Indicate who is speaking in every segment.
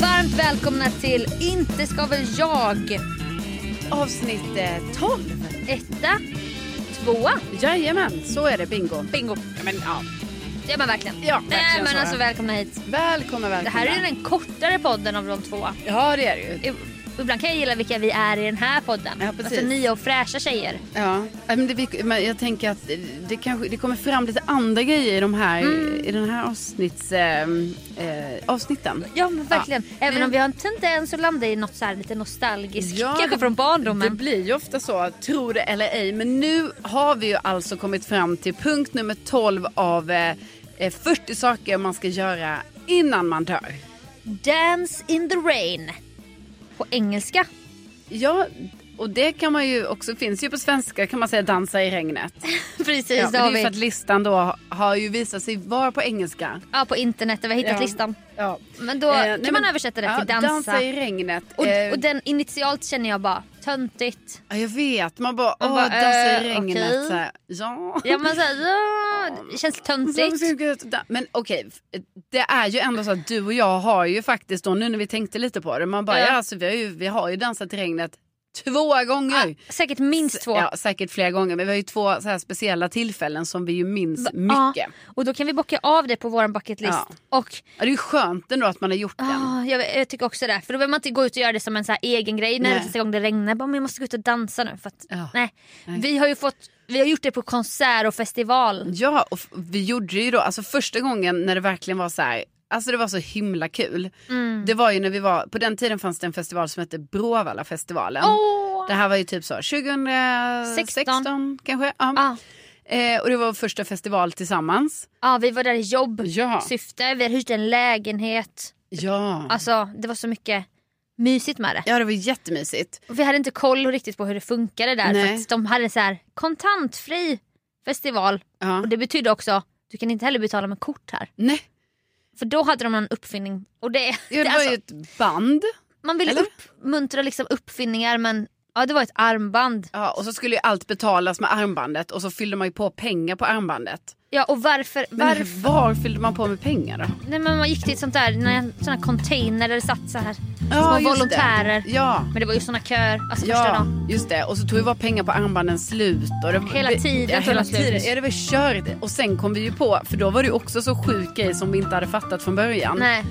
Speaker 1: Varmt välkomna till Inte ska väl jag.
Speaker 2: Avsnitt eh, 12.
Speaker 1: Etta, tvåa.
Speaker 2: Jajamän, så är det. Bingo.
Speaker 1: Bingo.
Speaker 2: Ja, men, ja.
Speaker 1: Det är man verkligen.
Speaker 2: Ja,
Speaker 1: Nej
Speaker 2: verkligen
Speaker 1: men
Speaker 2: så.
Speaker 1: alltså välkomna hit.
Speaker 2: Välkommen, välkommen.
Speaker 1: Det här är den kortare podden av de två.
Speaker 2: Ja, det är det ju.
Speaker 1: I- Ibland kan jag gilla vilka vi är i den här podden.
Speaker 2: Ja, precis.
Speaker 1: Alltså nya och fräscha tjejer.
Speaker 2: Ja. Nej, Men, det, vi- men jag tänker att det, kanske, det kommer fram lite andra grejer i, de här,
Speaker 1: Mm.
Speaker 2: i den här avsnitts, eh, eh, avsnitten.
Speaker 1: Ja men verkligen. Även
Speaker 2: Men-
Speaker 1: om vi har en tendens att landa i något så här lite nostalgiskt.
Speaker 2: Ja,
Speaker 1: kanske
Speaker 2: det-
Speaker 1: från
Speaker 2: Det
Speaker 1: barndomen.
Speaker 2: blir ju ofta så, tro det eller ej. Men nu har vi ju alltså kommit fram till punkt nummer 12 av eh, eh, 40 saker man ska göra innan man dör.
Speaker 1: Dance in the rain. På engelska.
Speaker 2: Ja, och det kan man ju också, finns ju på svenska kan man säga dansa i regnet.
Speaker 1: Precis,
Speaker 2: Ja, men
Speaker 1: det
Speaker 2: det
Speaker 1: har
Speaker 2: är ju
Speaker 1: vi.
Speaker 2: för att listan då har ju visat sig vara på engelska.
Speaker 1: Ja, på internet där vi har hittat
Speaker 2: Ja.
Speaker 1: listan.
Speaker 2: Ja. Eh,
Speaker 1: Men då kan man översätta det till dansa.
Speaker 2: Dansa i regnet.
Speaker 1: Och,
Speaker 2: Eh,
Speaker 1: och den initialt känner jag bara, töntigt.
Speaker 2: ja, jag vet, man bara,
Speaker 1: Man
Speaker 2: åh,
Speaker 1: bara,
Speaker 2: dansa
Speaker 1: eh,
Speaker 2: i regnet.
Speaker 1: okej.
Speaker 2: Så här, ja.
Speaker 1: Ja men såhär, ja, det känns
Speaker 2: Så ska
Speaker 1: töntigt.
Speaker 2: vi gå ut och dan- Men okej, f- det är ju ändå så att du och jag har ju faktiskt då, nu när vi tänkte lite på det, man bara,
Speaker 1: Ja.
Speaker 2: ja, alltså, vi, har ju, vi har ju dansat i regnet två gånger.
Speaker 1: Säkert minst två.
Speaker 2: Ja, säkert flera gånger, men vi har ju två så här speciella tillfällen som vi ju minns
Speaker 1: Ja,
Speaker 2: mycket.
Speaker 1: Och då kan vi bocka av det på vår bucketlist.
Speaker 2: Ja.
Speaker 1: Och
Speaker 2: Ja, det är ju skönt ändå att man har gjort den.
Speaker 1: ah, jag, jag tycker också det. För då behöver man inte gå ut och göra det som en så här egen grej när
Speaker 2: Nej.
Speaker 1: det nästa gång det regnar. Bara, men jag måste gå ut och dansa nu. För att,
Speaker 2: Ja.
Speaker 1: nej.
Speaker 2: Nej.
Speaker 1: Vi har ju fått, vi har gjort det på konsert och festival.
Speaker 2: Ja, och f- vi gjorde det ju då, alltså första gången när det verkligen var så här, alltså det var så himla kul.
Speaker 1: Mm.
Speaker 2: Det var ju när vi var, på den tiden fanns det en festival som hette Bråvallafestivalen.
Speaker 1: Åh!
Speaker 2: Det här var ju typ så 2016 kanske. Ja.
Speaker 1: Ja,
Speaker 2: Eh, och det var vår första festival tillsammans.
Speaker 1: ja, vi var där i jobbsyfte,
Speaker 2: Ja. Mm.
Speaker 1: vi hade hyrt en lägenhet.
Speaker 2: Ja.
Speaker 1: Alltså det var så mycket mysigt med det.
Speaker 2: ja, det var jättemysigt.
Speaker 1: Och vi hade inte koll riktigt på hur det funkade där. För
Speaker 2: Nej.
Speaker 1: att de hade så här kontantfri festival.
Speaker 2: Ja.
Speaker 1: Och det betydde också, du kan inte heller betala med kort här.
Speaker 2: Nej,
Speaker 1: För då hade de en uppfinning. Och det,
Speaker 2: ja, det
Speaker 1: det,
Speaker 2: var
Speaker 1: alltså,
Speaker 2: ju ett band.
Speaker 1: man ville
Speaker 2: eller?
Speaker 1: uppmuntra liksom uppfinningar men ja, det var ett armband.
Speaker 2: Ja, och så skulle ju allt betalas med armbandet och så fyllde man ju på pengar på armbandet.
Speaker 1: Ja, och varför,
Speaker 2: Men
Speaker 1: varför
Speaker 2: var fyllde man på med pengar då?
Speaker 1: nej, men man gick till ett sånt där, en sån här container där det satt så här.
Speaker 2: Ja,
Speaker 1: små
Speaker 2: just det.
Speaker 1: volontärer.
Speaker 2: Ja.
Speaker 1: Men det var ju såna köer alltså första
Speaker 2: Ja,
Speaker 1: dagen.
Speaker 2: just det. Och så tog ju bara pengar på armbanden slut. Och det,
Speaker 1: Hela tiden
Speaker 2: ja,
Speaker 1: tog
Speaker 2: hela
Speaker 1: de slut.
Speaker 2: tiden. Ja, det var körigt. Och sen kom vi ju på, för då var det ju också så sjuk grej som vi inte hade fattat från början.
Speaker 1: Nej,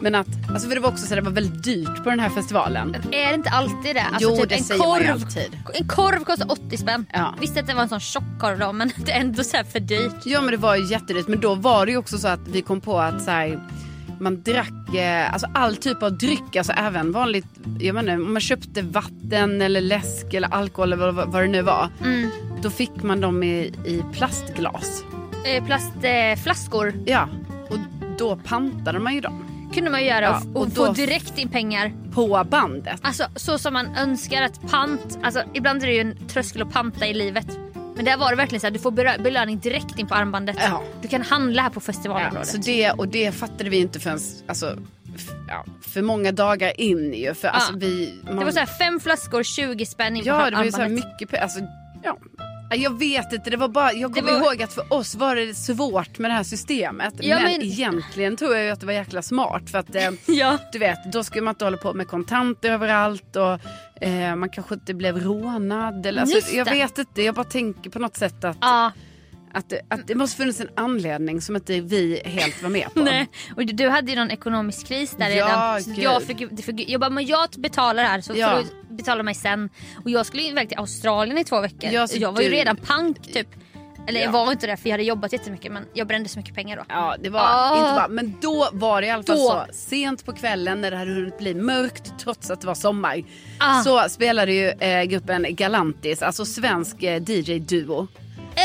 Speaker 2: Men att, alltså för det var också så det var väldigt dyrt på den här festivalen.
Speaker 1: är det inte alltid det? Alltså
Speaker 2: Jo,
Speaker 1: typ
Speaker 2: det
Speaker 1: en
Speaker 2: säger man ju
Speaker 1: korv,
Speaker 2: alltid.
Speaker 1: en korv kostar 80 spänn.
Speaker 2: Ja.
Speaker 1: Visst att det var en sån tjock korv då men det är ändå så här för dyrt.
Speaker 2: Ja men det var ju jättedyrt. Men då var det ju också så att vi kom på att så här, man drack eh, alltså all typ av dryck, alltså även vanligt, jag menar om man köpte vatten eller läsk eller alkohol eller vad, vad det nu var.
Speaker 1: Mm.
Speaker 2: Då fick man dem i, i plastglas.
Speaker 1: Eh, Plastflaskor. Eh, flaskor.
Speaker 2: Ja, och då pantade man ju dem.
Speaker 1: kunde man ju göra
Speaker 2: Ja,
Speaker 1: och,
Speaker 2: och
Speaker 1: få
Speaker 2: då-
Speaker 1: direkt in pengar.
Speaker 2: På bandet.
Speaker 1: Alltså så som man önskar att pant, alltså ibland är det ju en tröskel att panta i livet. Men där var det verkligen så här, du får berö- belöning direkt in på armbandet.
Speaker 2: Ja.
Speaker 1: Du kan handla här på
Speaker 2: Ja,
Speaker 1: festivalområdet.
Speaker 2: så det, och det fattade vi inte förrän alltså, f- ja, för många dagar in ju. För alltså,
Speaker 1: Ja.
Speaker 2: vi, man,
Speaker 1: Ah, Det var så här, fem flaskor 20 spänn in på
Speaker 2: ja, det var ju
Speaker 1: armbandet.
Speaker 2: så här mycket pe- alltså, ja. Ja, Jag vet inte, det var bara, jag
Speaker 1: Det
Speaker 2: kommer
Speaker 1: var-
Speaker 2: ihåg att för oss var det svårt med det här systemet.
Speaker 1: Ja,
Speaker 2: men,
Speaker 1: men-
Speaker 2: egentligen tror jag ju att det var jäkla smart. För att, eh,
Speaker 1: Ja.
Speaker 2: du vet, då skulle man inte hålla på med kontanter överallt och eh, man kanske inte blev rånad. Eller,
Speaker 1: Just
Speaker 2: alltså, jag
Speaker 1: det.
Speaker 2: vet inte, jag bara tänker på något sätt att,
Speaker 1: Ja,
Speaker 2: att, det- att det måste funnits en anledning som inte vi helt var med på.
Speaker 1: nej. Och du- du hade ju någon ekonomisk kris där
Speaker 2: Ja,
Speaker 1: redan. Så
Speaker 2: gud.
Speaker 1: jag, fick, ju- det fick, jag bara, men jag betalar det här så
Speaker 2: Ja.
Speaker 1: får du betala mig sen. Och jag skulle ju iväg till Australien i två veckor.
Speaker 2: Ja,
Speaker 1: och
Speaker 2: så
Speaker 1: jag var ju
Speaker 2: du-
Speaker 1: redan pank typ. Eller jag
Speaker 2: Ja.
Speaker 1: var inte det för jag hade jobbat jättemycket men jag brände så mycket pengar då.
Speaker 2: Ja, det var
Speaker 1: Ah.
Speaker 2: inte bra. Men då var det i alla fall
Speaker 1: Då.
Speaker 2: så. Sent på kvällen när det hade hunnit bli mörkt trots att det var sommar.
Speaker 1: Ah.
Speaker 2: Så spelade ju eh, gruppen Galantis, alltså svensk eh, DJ-duo.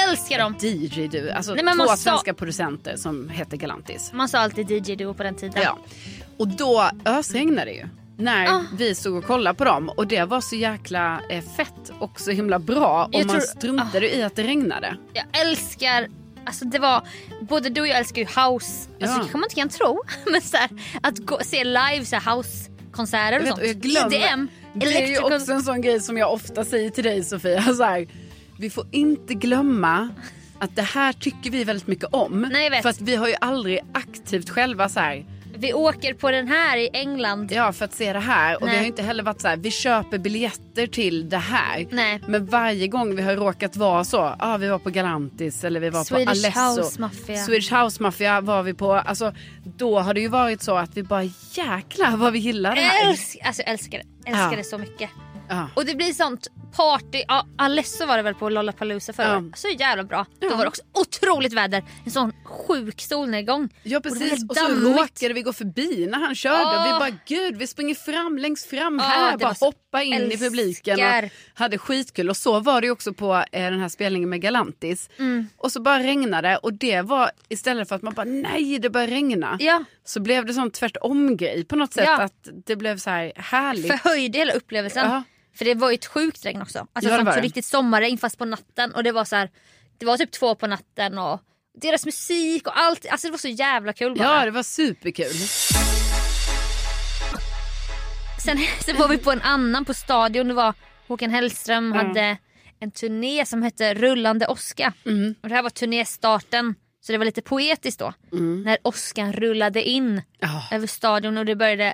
Speaker 1: Älskar dem!
Speaker 2: DJ-duo, alltså
Speaker 1: Nej, men
Speaker 2: två
Speaker 1: man sa-
Speaker 2: svenska producenter som heter Galantis.
Speaker 1: Man sa alltid DJ Duo på den tiden.
Speaker 2: Ja. Och då ösregnade det ju. När
Speaker 1: Ah.
Speaker 2: vi stod och kollade på dem. Och det var så jäkla eh, fett och så himla bra. Och
Speaker 1: Jag
Speaker 2: man
Speaker 1: tror- Ah.
Speaker 2: struntade i att det regnade.
Speaker 1: Jag älskar, alltså det var, både du och jag älskar ju house, alltså
Speaker 2: Ja.
Speaker 1: det kan man inte kan tro. Men så här, att gå, se live så här, housekonserter
Speaker 2: Jag
Speaker 1: och
Speaker 2: vet,
Speaker 1: sånt.
Speaker 2: och jag glömmer-
Speaker 1: EDM,
Speaker 2: Det är ju
Speaker 1: electrical-
Speaker 2: också en sån grej som jag ofta säger till dig Sofia. Så här, vi får inte glömma att det här tycker vi väldigt mycket om.
Speaker 1: Nej, jag vet.
Speaker 2: För att vi har ju aldrig aktivt själva så här,
Speaker 1: Vi åker på den här i England.
Speaker 2: ja för att se det här. Och vi
Speaker 1: Nej.
Speaker 2: har ju inte heller varit så här, vi köper biljetter till det här.
Speaker 1: Nej.
Speaker 2: Men varje gång vi har råkat vara så, ah, vi var på Galantis eller vi var på
Speaker 1: Swedish
Speaker 2: Alesso.
Speaker 1: House Mafia.
Speaker 2: Swedish House Mafia var vi på. Alltså, då har det ju varit så att vi bara jäklar vad vi gillar det här.
Speaker 1: Älsk, alltså jag älskar det, älskar
Speaker 2: Ja.
Speaker 1: det så mycket.
Speaker 2: Ja.
Speaker 1: Och det blir sånt party, ja, Alesso var det väl på Lollapalooza förra
Speaker 2: Ja.
Speaker 1: året. Så jävla bra. Då var det också otroligt väder, en sån sjuk solnedgång.
Speaker 2: Ja
Speaker 1: det var
Speaker 2: precis
Speaker 1: helt
Speaker 2: och så
Speaker 1: dammigt.
Speaker 2: råkade vi gå förbi när han körde och
Speaker 1: Åh.
Speaker 2: vi bara gud vi springer fram längst fram
Speaker 1: Ja,
Speaker 2: här
Speaker 1: det
Speaker 2: bara
Speaker 1: var så-
Speaker 2: hoppa in i publiken och
Speaker 1: Älskar.
Speaker 2: hade skitkul och så var det ju också på eh, den här spelningen med Galantis
Speaker 1: Mm.
Speaker 2: och så bara regnade och det var istället för att man bara nej det börjar regna
Speaker 1: Ja.
Speaker 2: så blev det sån tvärtom grej på något sätt
Speaker 1: Ja.
Speaker 2: att det blev så här härligt.
Speaker 1: förhöjde hela upplevelsen.
Speaker 2: Ja.
Speaker 1: För det var ju ett sjukt regn också. Alltså
Speaker 2: Ja, det
Speaker 1: ja,
Speaker 2: var
Speaker 1: så
Speaker 2: det.
Speaker 1: riktigt sommarregn fast på natten. Och det var så här, det var typ två på natten och deras musik och allt. Alltså det var så jävla kul bara.
Speaker 2: Ja det var superkul.
Speaker 1: Sen, sen var vi på en annan på Stadion. Det var Håkan Hellström
Speaker 2: Mm.
Speaker 1: hade en turné som hette Rullande åska.
Speaker 2: Mm.
Speaker 1: Och det här var turnéstarten. Så det var lite poetiskt då.
Speaker 2: Mm.
Speaker 1: När åskan rullade in
Speaker 2: Ja,
Speaker 1: över Stadion och det började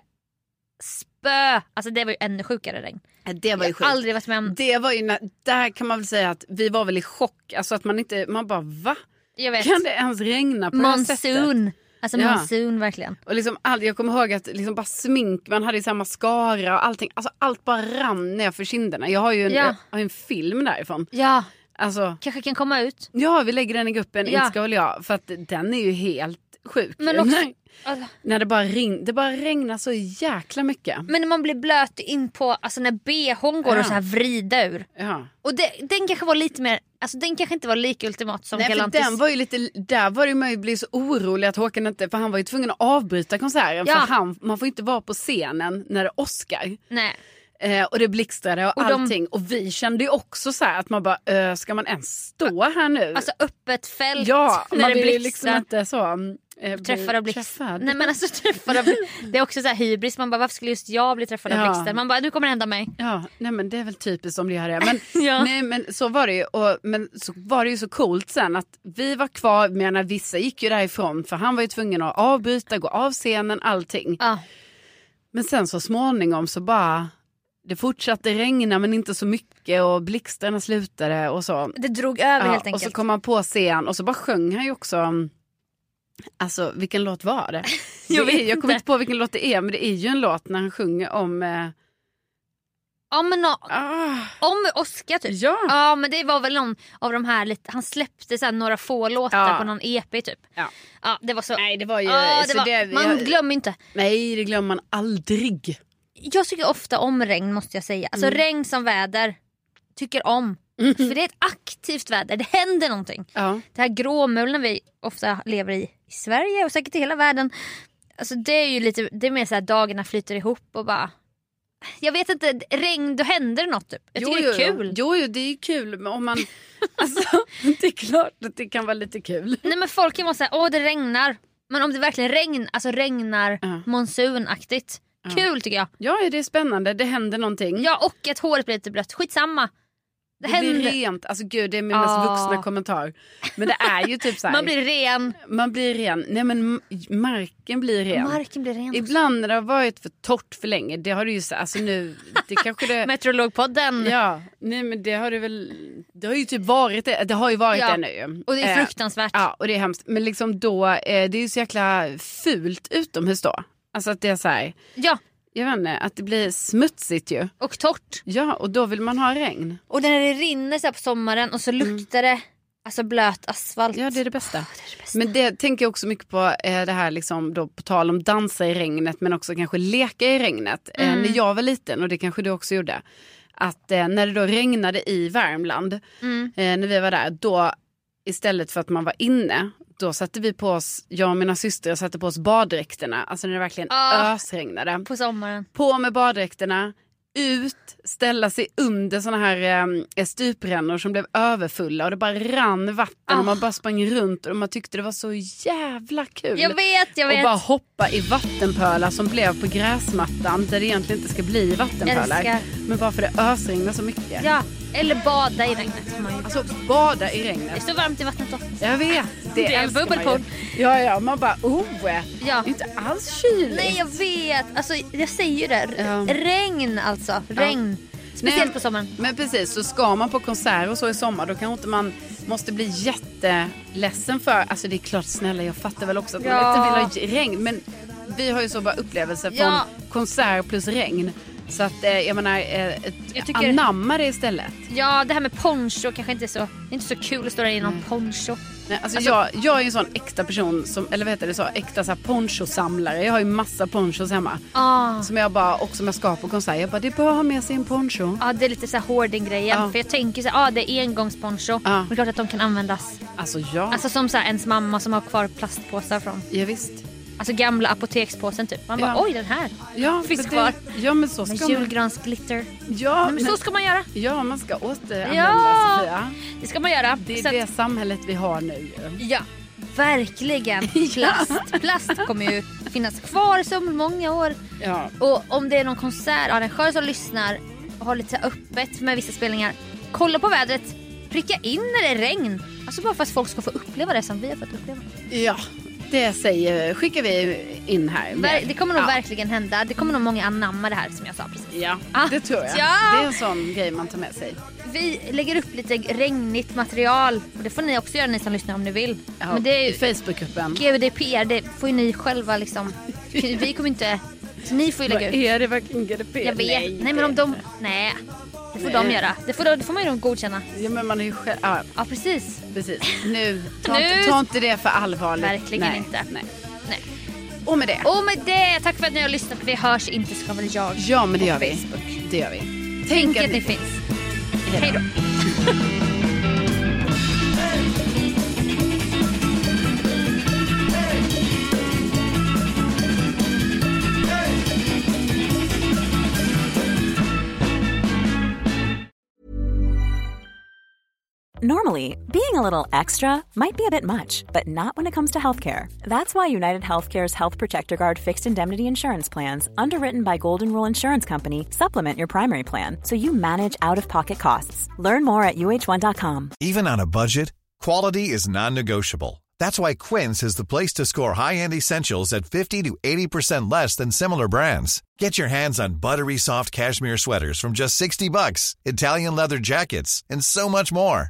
Speaker 1: spö. Alltså det var ju ännu sjukare regn.
Speaker 2: det var ju
Speaker 1: Jag har
Speaker 2: sjukt.
Speaker 1: aldrig varit med om...
Speaker 2: Det var ju när, där kan man väl säga att vi var väl i chock alltså att man inte man bara va?
Speaker 1: Jag vet.
Speaker 2: Kan det ens regna på det här sättet?
Speaker 1: Monsoon. Alltså
Speaker 2: Ja.
Speaker 1: monsoon verkligen.
Speaker 2: Och liksom all, jag kommer ihåg att liksom bara smink, man hade ju samma mascara och allting. Alltså allt bara rann ner för kinderna. Jag har ju en,
Speaker 1: Ja.
Speaker 2: jag har ju en film därifrån.
Speaker 1: Ja,
Speaker 2: Alltså,
Speaker 1: kanske kan komma ut.
Speaker 2: ja, vi lägger den i gruppen,
Speaker 1: Ja.
Speaker 2: inte ska väl jag. För att den är ju helt sjuk.
Speaker 1: Men också-
Speaker 2: när, när det, bara regn, det bara regnar så jäkla mycket.
Speaker 1: Men när man blir blöt in på, alltså när bhn går
Speaker 2: Ja.
Speaker 1: och så här vrida ur.
Speaker 2: Ja.
Speaker 1: Och det, den kanske var lite mer, alltså den kanske inte var lika ultimat som
Speaker 2: Nej, för
Speaker 1: Galantis.
Speaker 2: den var ju lite, där var det ju man blev så orolig att Håkan inte, för han var ju tvungen att avbryta konserten.
Speaker 1: Ja.
Speaker 2: För han, man får inte vara på scenen när det åskar.
Speaker 1: Nej.
Speaker 2: Eh, och det blixtrade och,
Speaker 1: Och de-
Speaker 2: allting. Och vi kände ju också så här att man bara, "Ö, ska man ens stå här nu?
Speaker 1: Alltså öppet fält
Speaker 2: ja,
Speaker 1: när
Speaker 2: man
Speaker 1: det
Speaker 2: vill ju
Speaker 1: blixtrar.
Speaker 2: liksom inte så. mm, Eh, bli
Speaker 1: Träffar av blixt.
Speaker 2: träffad.
Speaker 1: Nej men alltså träffar av blixt. Det är också så här hybris, man bara varför skulle just jag bli träffad
Speaker 2: Ja.
Speaker 1: av blixten? Man bara nu kommer det hända mig.
Speaker 2: Ja, nej men det är väl typiskt om det gör det. Men,
Speaker 1: Ja.
Speaker 2: nej, men så var det ju. Och, men så var det ju så coolt sen att vi var kvar medan vissa gick ju därifrån för han var ju tvungen att avbryta, gå av scenen, allting.
Speaker 1: Ja.
Speaker 2: Men sen så småningom så bara, det fortsatte regna men inte så mycket och blixtarna slutade och så.
Speaker 1: Det drog över helt
Speaker 2: och så
Speaker 1: enkelt.
Speaker 2: kom han på scen och så bara sjöng han ju också. um, Alltså vilken låt var det?
Speaker 1: Jag
Speaker 2: Det är-
Speaker 1: vet
Speaker 2: jag
Speaker 1: inte.
Speaker 2: kommer inte på vilken låt det är men det är ju en låt när han sjunger om... Eh,
Speaker 1: Ja men nå-
Speaker 2: ah,
Speaker 1: om Oscar typ.
Speaker 2: ja.
Speaker 1: Ja men det var väl någon av de här lite, han släppte så här några få låtar
Speaker 2: Ja.
Speaker 1: på någon EP typ.
Speaker 2: Ja.
Speaker 1: Ja det var så.
Speaker 2: Nej det var ju...
Speaker 1: ja, Ah, det
Speaker 2: så
Speaker 1: var,
Speaker 2: det-
Speaker 1: man
Speaker 2: jag-
Speaker 1: glömmer inte.
Speaker 2: Nej det glömmer man aldrig.
Speaker 1: Jag tycker ofta om regn måste jag säga.
Speaker 2: Mm.
Speaker 1: Alltså regn som väder. Tycker om.
Speaker 2: Mm-hmm.
Speaker 1: För det är ett aktivt väder, det händer någonting.
Speaker 2: Ja.
Speaker 1: Det här gråmulna vi ofta lever i i Sverige och säkert i hela världen. Alltså det är ju lite, det är mer såhär dagarna flyter ihop och bara jag vet inte, regn då händer det något typ. Jag tycker det är
Speaker 2: jo,
Speaker 1: kul.
Speaker 2: Jo, jo, det är ju kul. Men om man, alltså, det är klart att det kan vara lite kul.
Speaker 1: Nej men folk kan vara såhär, åh det regnar. Men om det verkligen regn, alltså regnar
Speaker 2: Ja.
Speaker 1: monsunaktigt. Kul tycker jag.
Speaker 2: Ja, det är spännande. Det händer någonting.
Speaker 1: Ja och att håret blir lite blött, skitsamma. Det,
Speaker 2: det
Speaker 1: händer.
Speaker 2: blir rent. Alltså gud, det är min mest
Speaker 1: Ah.
Speaker 2: vuxna kommentar. Men det är ju typ så här.
Speaker 1: Man blir ren.
Speaker 2: man blir ren. Nej men m- marken blir ren.
Speaker 1: Marken blir ren.
Speaker 2: Ibland när det har varit för torrt för länge, det har du ju sagt. Alltså nu, det kanske det...
Speaker 1: Meteorologpodden.
Speaker 2: Ja, nej men det har det väl... Det har ju typ varit det. Det har ju varit
Speaker 1: Ja.
Speaker 2: det nu.
Speaker 1: Och det är
Speaker 2: Eh,
Speaker 1: fruktansvärt.
Speaker 2: Ja, och det är hemskt. Men liksom då, eh, det är ju så jäkla fult utomhus då. Alltså att det är så här,
Speaker 1: ja
Speaker 2: jag vet inte, att det blir smutsigt ju.
Speaker 1: och torrt.
Speaker 2: Ja, och då vill man ha regn.
Speaker 1: Och när det rinner så här på sommaren och så luktar det alltså blöt asfalt.
Speaker 2: Mm. Ja, det är det bästa.
Speaker 1: det är det bästa.
Speaker 2: Men det tänker jag också mycket på, eh, det här liksom då, på tal om dansa i regnet men också kanske leka i regnet. Eh, när jag var liten, och det kanske du också gjorde, att eh, när det då regnade i Värmland, eh, när vi var där, då istället för att man var inne, då satte vi på oss, jag och mina systrar satte på oss baddräkterna, alltså när det verkligen
Speaker 1: Ah.
Speaker 2: ösregnade.
Speaker 1: På sommaren.
Speaker 2: På med baddräkterna, ut, ställa sig under såna här eh, stuprännor som blev överfulla och det bara rann vatten
Speaker 1: Ah.
Speaker 2: och man bara sprang runt och man tyckte det var så jävla kul.
Speaker 1: Jag vet, jag
Speaker 2: Mm. Och
Speaker 1: vet.
Speaker 2: bara hoppa i vattenpölar som blev på gräsmattan där det egentligen inte ska bli vattenpölar.
Speaker 1: Älskar.
Speaker 2: Men bara för det ösregnar så mycket.
Speaker 1: Ja. Eller bada i regnet. som man gör.
Speaker 2: Alltså bada i
Speaker 1: Det är
Speaker 2: regnet.
Speaker 1: så varmt i vattnet då.
Speaker 2: Jag vet. Det,
Speaker 1: Det är
Speaker 2: älskar man
Speaker 1: bubbelpool.
Speaker 2: ju. Ja, ja, man bara oh.
Speaker 1: Ja.
Speaker 2: Det är inte alls kyligt.
Speaker 1: Nej jag vet, alltså, jag säger ju det. R-
Speaker 2: Ja.
Speaker 1: Regn alltså, regn. Speciellt
Speaker 2: Nej,
Speaker 1: på sommaren.
Speaker 2: Men precis, så ska man på konsert och så i sommar då kanske inte man måste bli jätteledsen för, alltså det är klart snälla jag fattar väl också att
Speaker 1: Ja.
Speaker 2: man inte vill ha regn men vi har ju så bara upplevelser
Speaker 1: Ja.
Speaker 2: från konsert plus regn. Så att eh, jag menar, eh, ett,
Speaker 1: Jag tycker-
Speaker 2: anamma det istället.
Speaker 1: Ja det här med poncho kanske inte är så, det är inte så kul att stå där i
Speaker 2: Mm.
Speaker 1: någon poncho.
Speaker 2: Nej, alltså, jag, jag är ju en sån äkta person, som, eller vad heter det, så, äkta så här ponchosamlare. Jag har ju massa ponchos hemma.
Speaker 1: Ah.
Speaker 2: Som jag bara, och som jag ska på konsert, jag bara det är bra att ha med sig en poncho.
Speaker 1: Ja det är lite så här hoarding-grejen.
Speaker 2: Ja.
Speaker 1: För jag tänker så här, ah, det är engångsponcho.
Speaker 2: Ja.
Speaker 1: Men det är klart att de kan användas.
Speaker 2: Alltså ja,
Speaker 1: Alltså som så här, ens mamma som har kvar plastpåsar från
Speaker 2: ja visst.
Speaker 1: Alltså gamla apotekspåsen typ. Man bara
Speaker 2: Ja.
Speaker 1: oj den här.
Speaker 2: Ja,
Speaker 1: Finns
Speaker 2: men
Speaker 1: kvar.
Speaker 2: Det, ja men så
Speaker 1: Med
Speaker 2: ska man
Speaker 1: julgransglitter.
Speaker 2: Ja,
Speaker 1: Men så ska man göra.
Speaker 2: ja, man ska återanvända
Speaker 1: Ja!
Speaker 2: Sofia.
Speaker 1: Det ska man göra.
Speaker 2: Det är
Speaker 1: Så att-
Speaker 2: det samhället vi har nu. ju.
Speaker 1: Ja, verkligen. Plast. Plast kommer ju finnas kvar så många år.
Speaker 2: Ja.
Speaker 1: Och om det är någon konsert, arrangör som lyssnar och har lite så här öppet med vissa spelningar. Kolla på vädret. Pricka in när det är regn. Alltså bara för att folk ska få uppleva det som vi har fått uppleva.
Speaker 2: ja, det säger, skickar vi in här. med.
Speaker 1: Ver- det kommer nog
Speaker 2: ja.
Speaker 1: verkligen hända. Det kommer nog många anamma det här som jag sa precis.
Speaker 2: Ja,
Speaker 1: Ah,
Speaker 2: det tror jag.
Speaker 1: ja.
Speaker 2: Det är en sån grej man tar med sig.
Speaker 1: Vi lägger upp lite regnigt material. Och det får ni också göra ni som lyssnar om ni vill.
Speaker 2: Ja,
Speaker 1: Men det är ju
Speaker 2: I Facebookgruppen.
Speaker 1: GDPR, det får ju ni själva liksom. Vi kommer inte... Så ni får ju
Speaker 2: Vad
Speaker 1: lägga ut.
Speaker 2: är det verkligen GDP?
Speaker 1: Jag vet. Nej,
Speaker 2: det
Speaker 1: men
Speaker 2: är
Speaker 1: om de...
Speaker 2: inte.
Speaker 1: Nej. Det får
Speaker 2: Nej.
Speaker 1: de göra. Det får, de- det får man ju de godkänna.
Speaker 2: Ja, men man är ju själv... Ja,
Speaker 1: Ja precis.
Speaker 2: precis. Nu, ta,
Speaker 1: Nu-
Speaker 2: Inte, ta inte det för allvarligt.
Speaker 1: Verkligen
Speaker 2: nej,
Speaker 1: inte.
Speaker 2: Nej.
Speaker 1: Nej.
Speaker 2: Och med det.
Speaker 1: Och med det, tack för att ni har lyssnat. Vi hörs inte så kommer jag.
Speaker 2: Ja, men det
Speaker 1: på
Speaker 2: gör vi.
Speaker 1: Facebook.
Speaker 2: Det gör vi.
Speaker 1: Tänk att ni finns. Hej då.
Speaker 3: Normally, being a little extra might be a bit much, but not when it comes to healthcare. That's why United Healthcare's Health Protector Guard fixed indemnity insurance plans, underwritten by Golden Rule Insurance Company, supplement your primary plan so you manage out of pocket costs. Learn more at uh1.com.
Speaker 4: Even on a budget, quality is non-negotiable. That's why Quince is the place to score high-end essentials at 50 to 80% less than similar brands. Get your hands on buttery soft cashmere sweaters from just 60 bucks, Italian leather jackets, and so much more.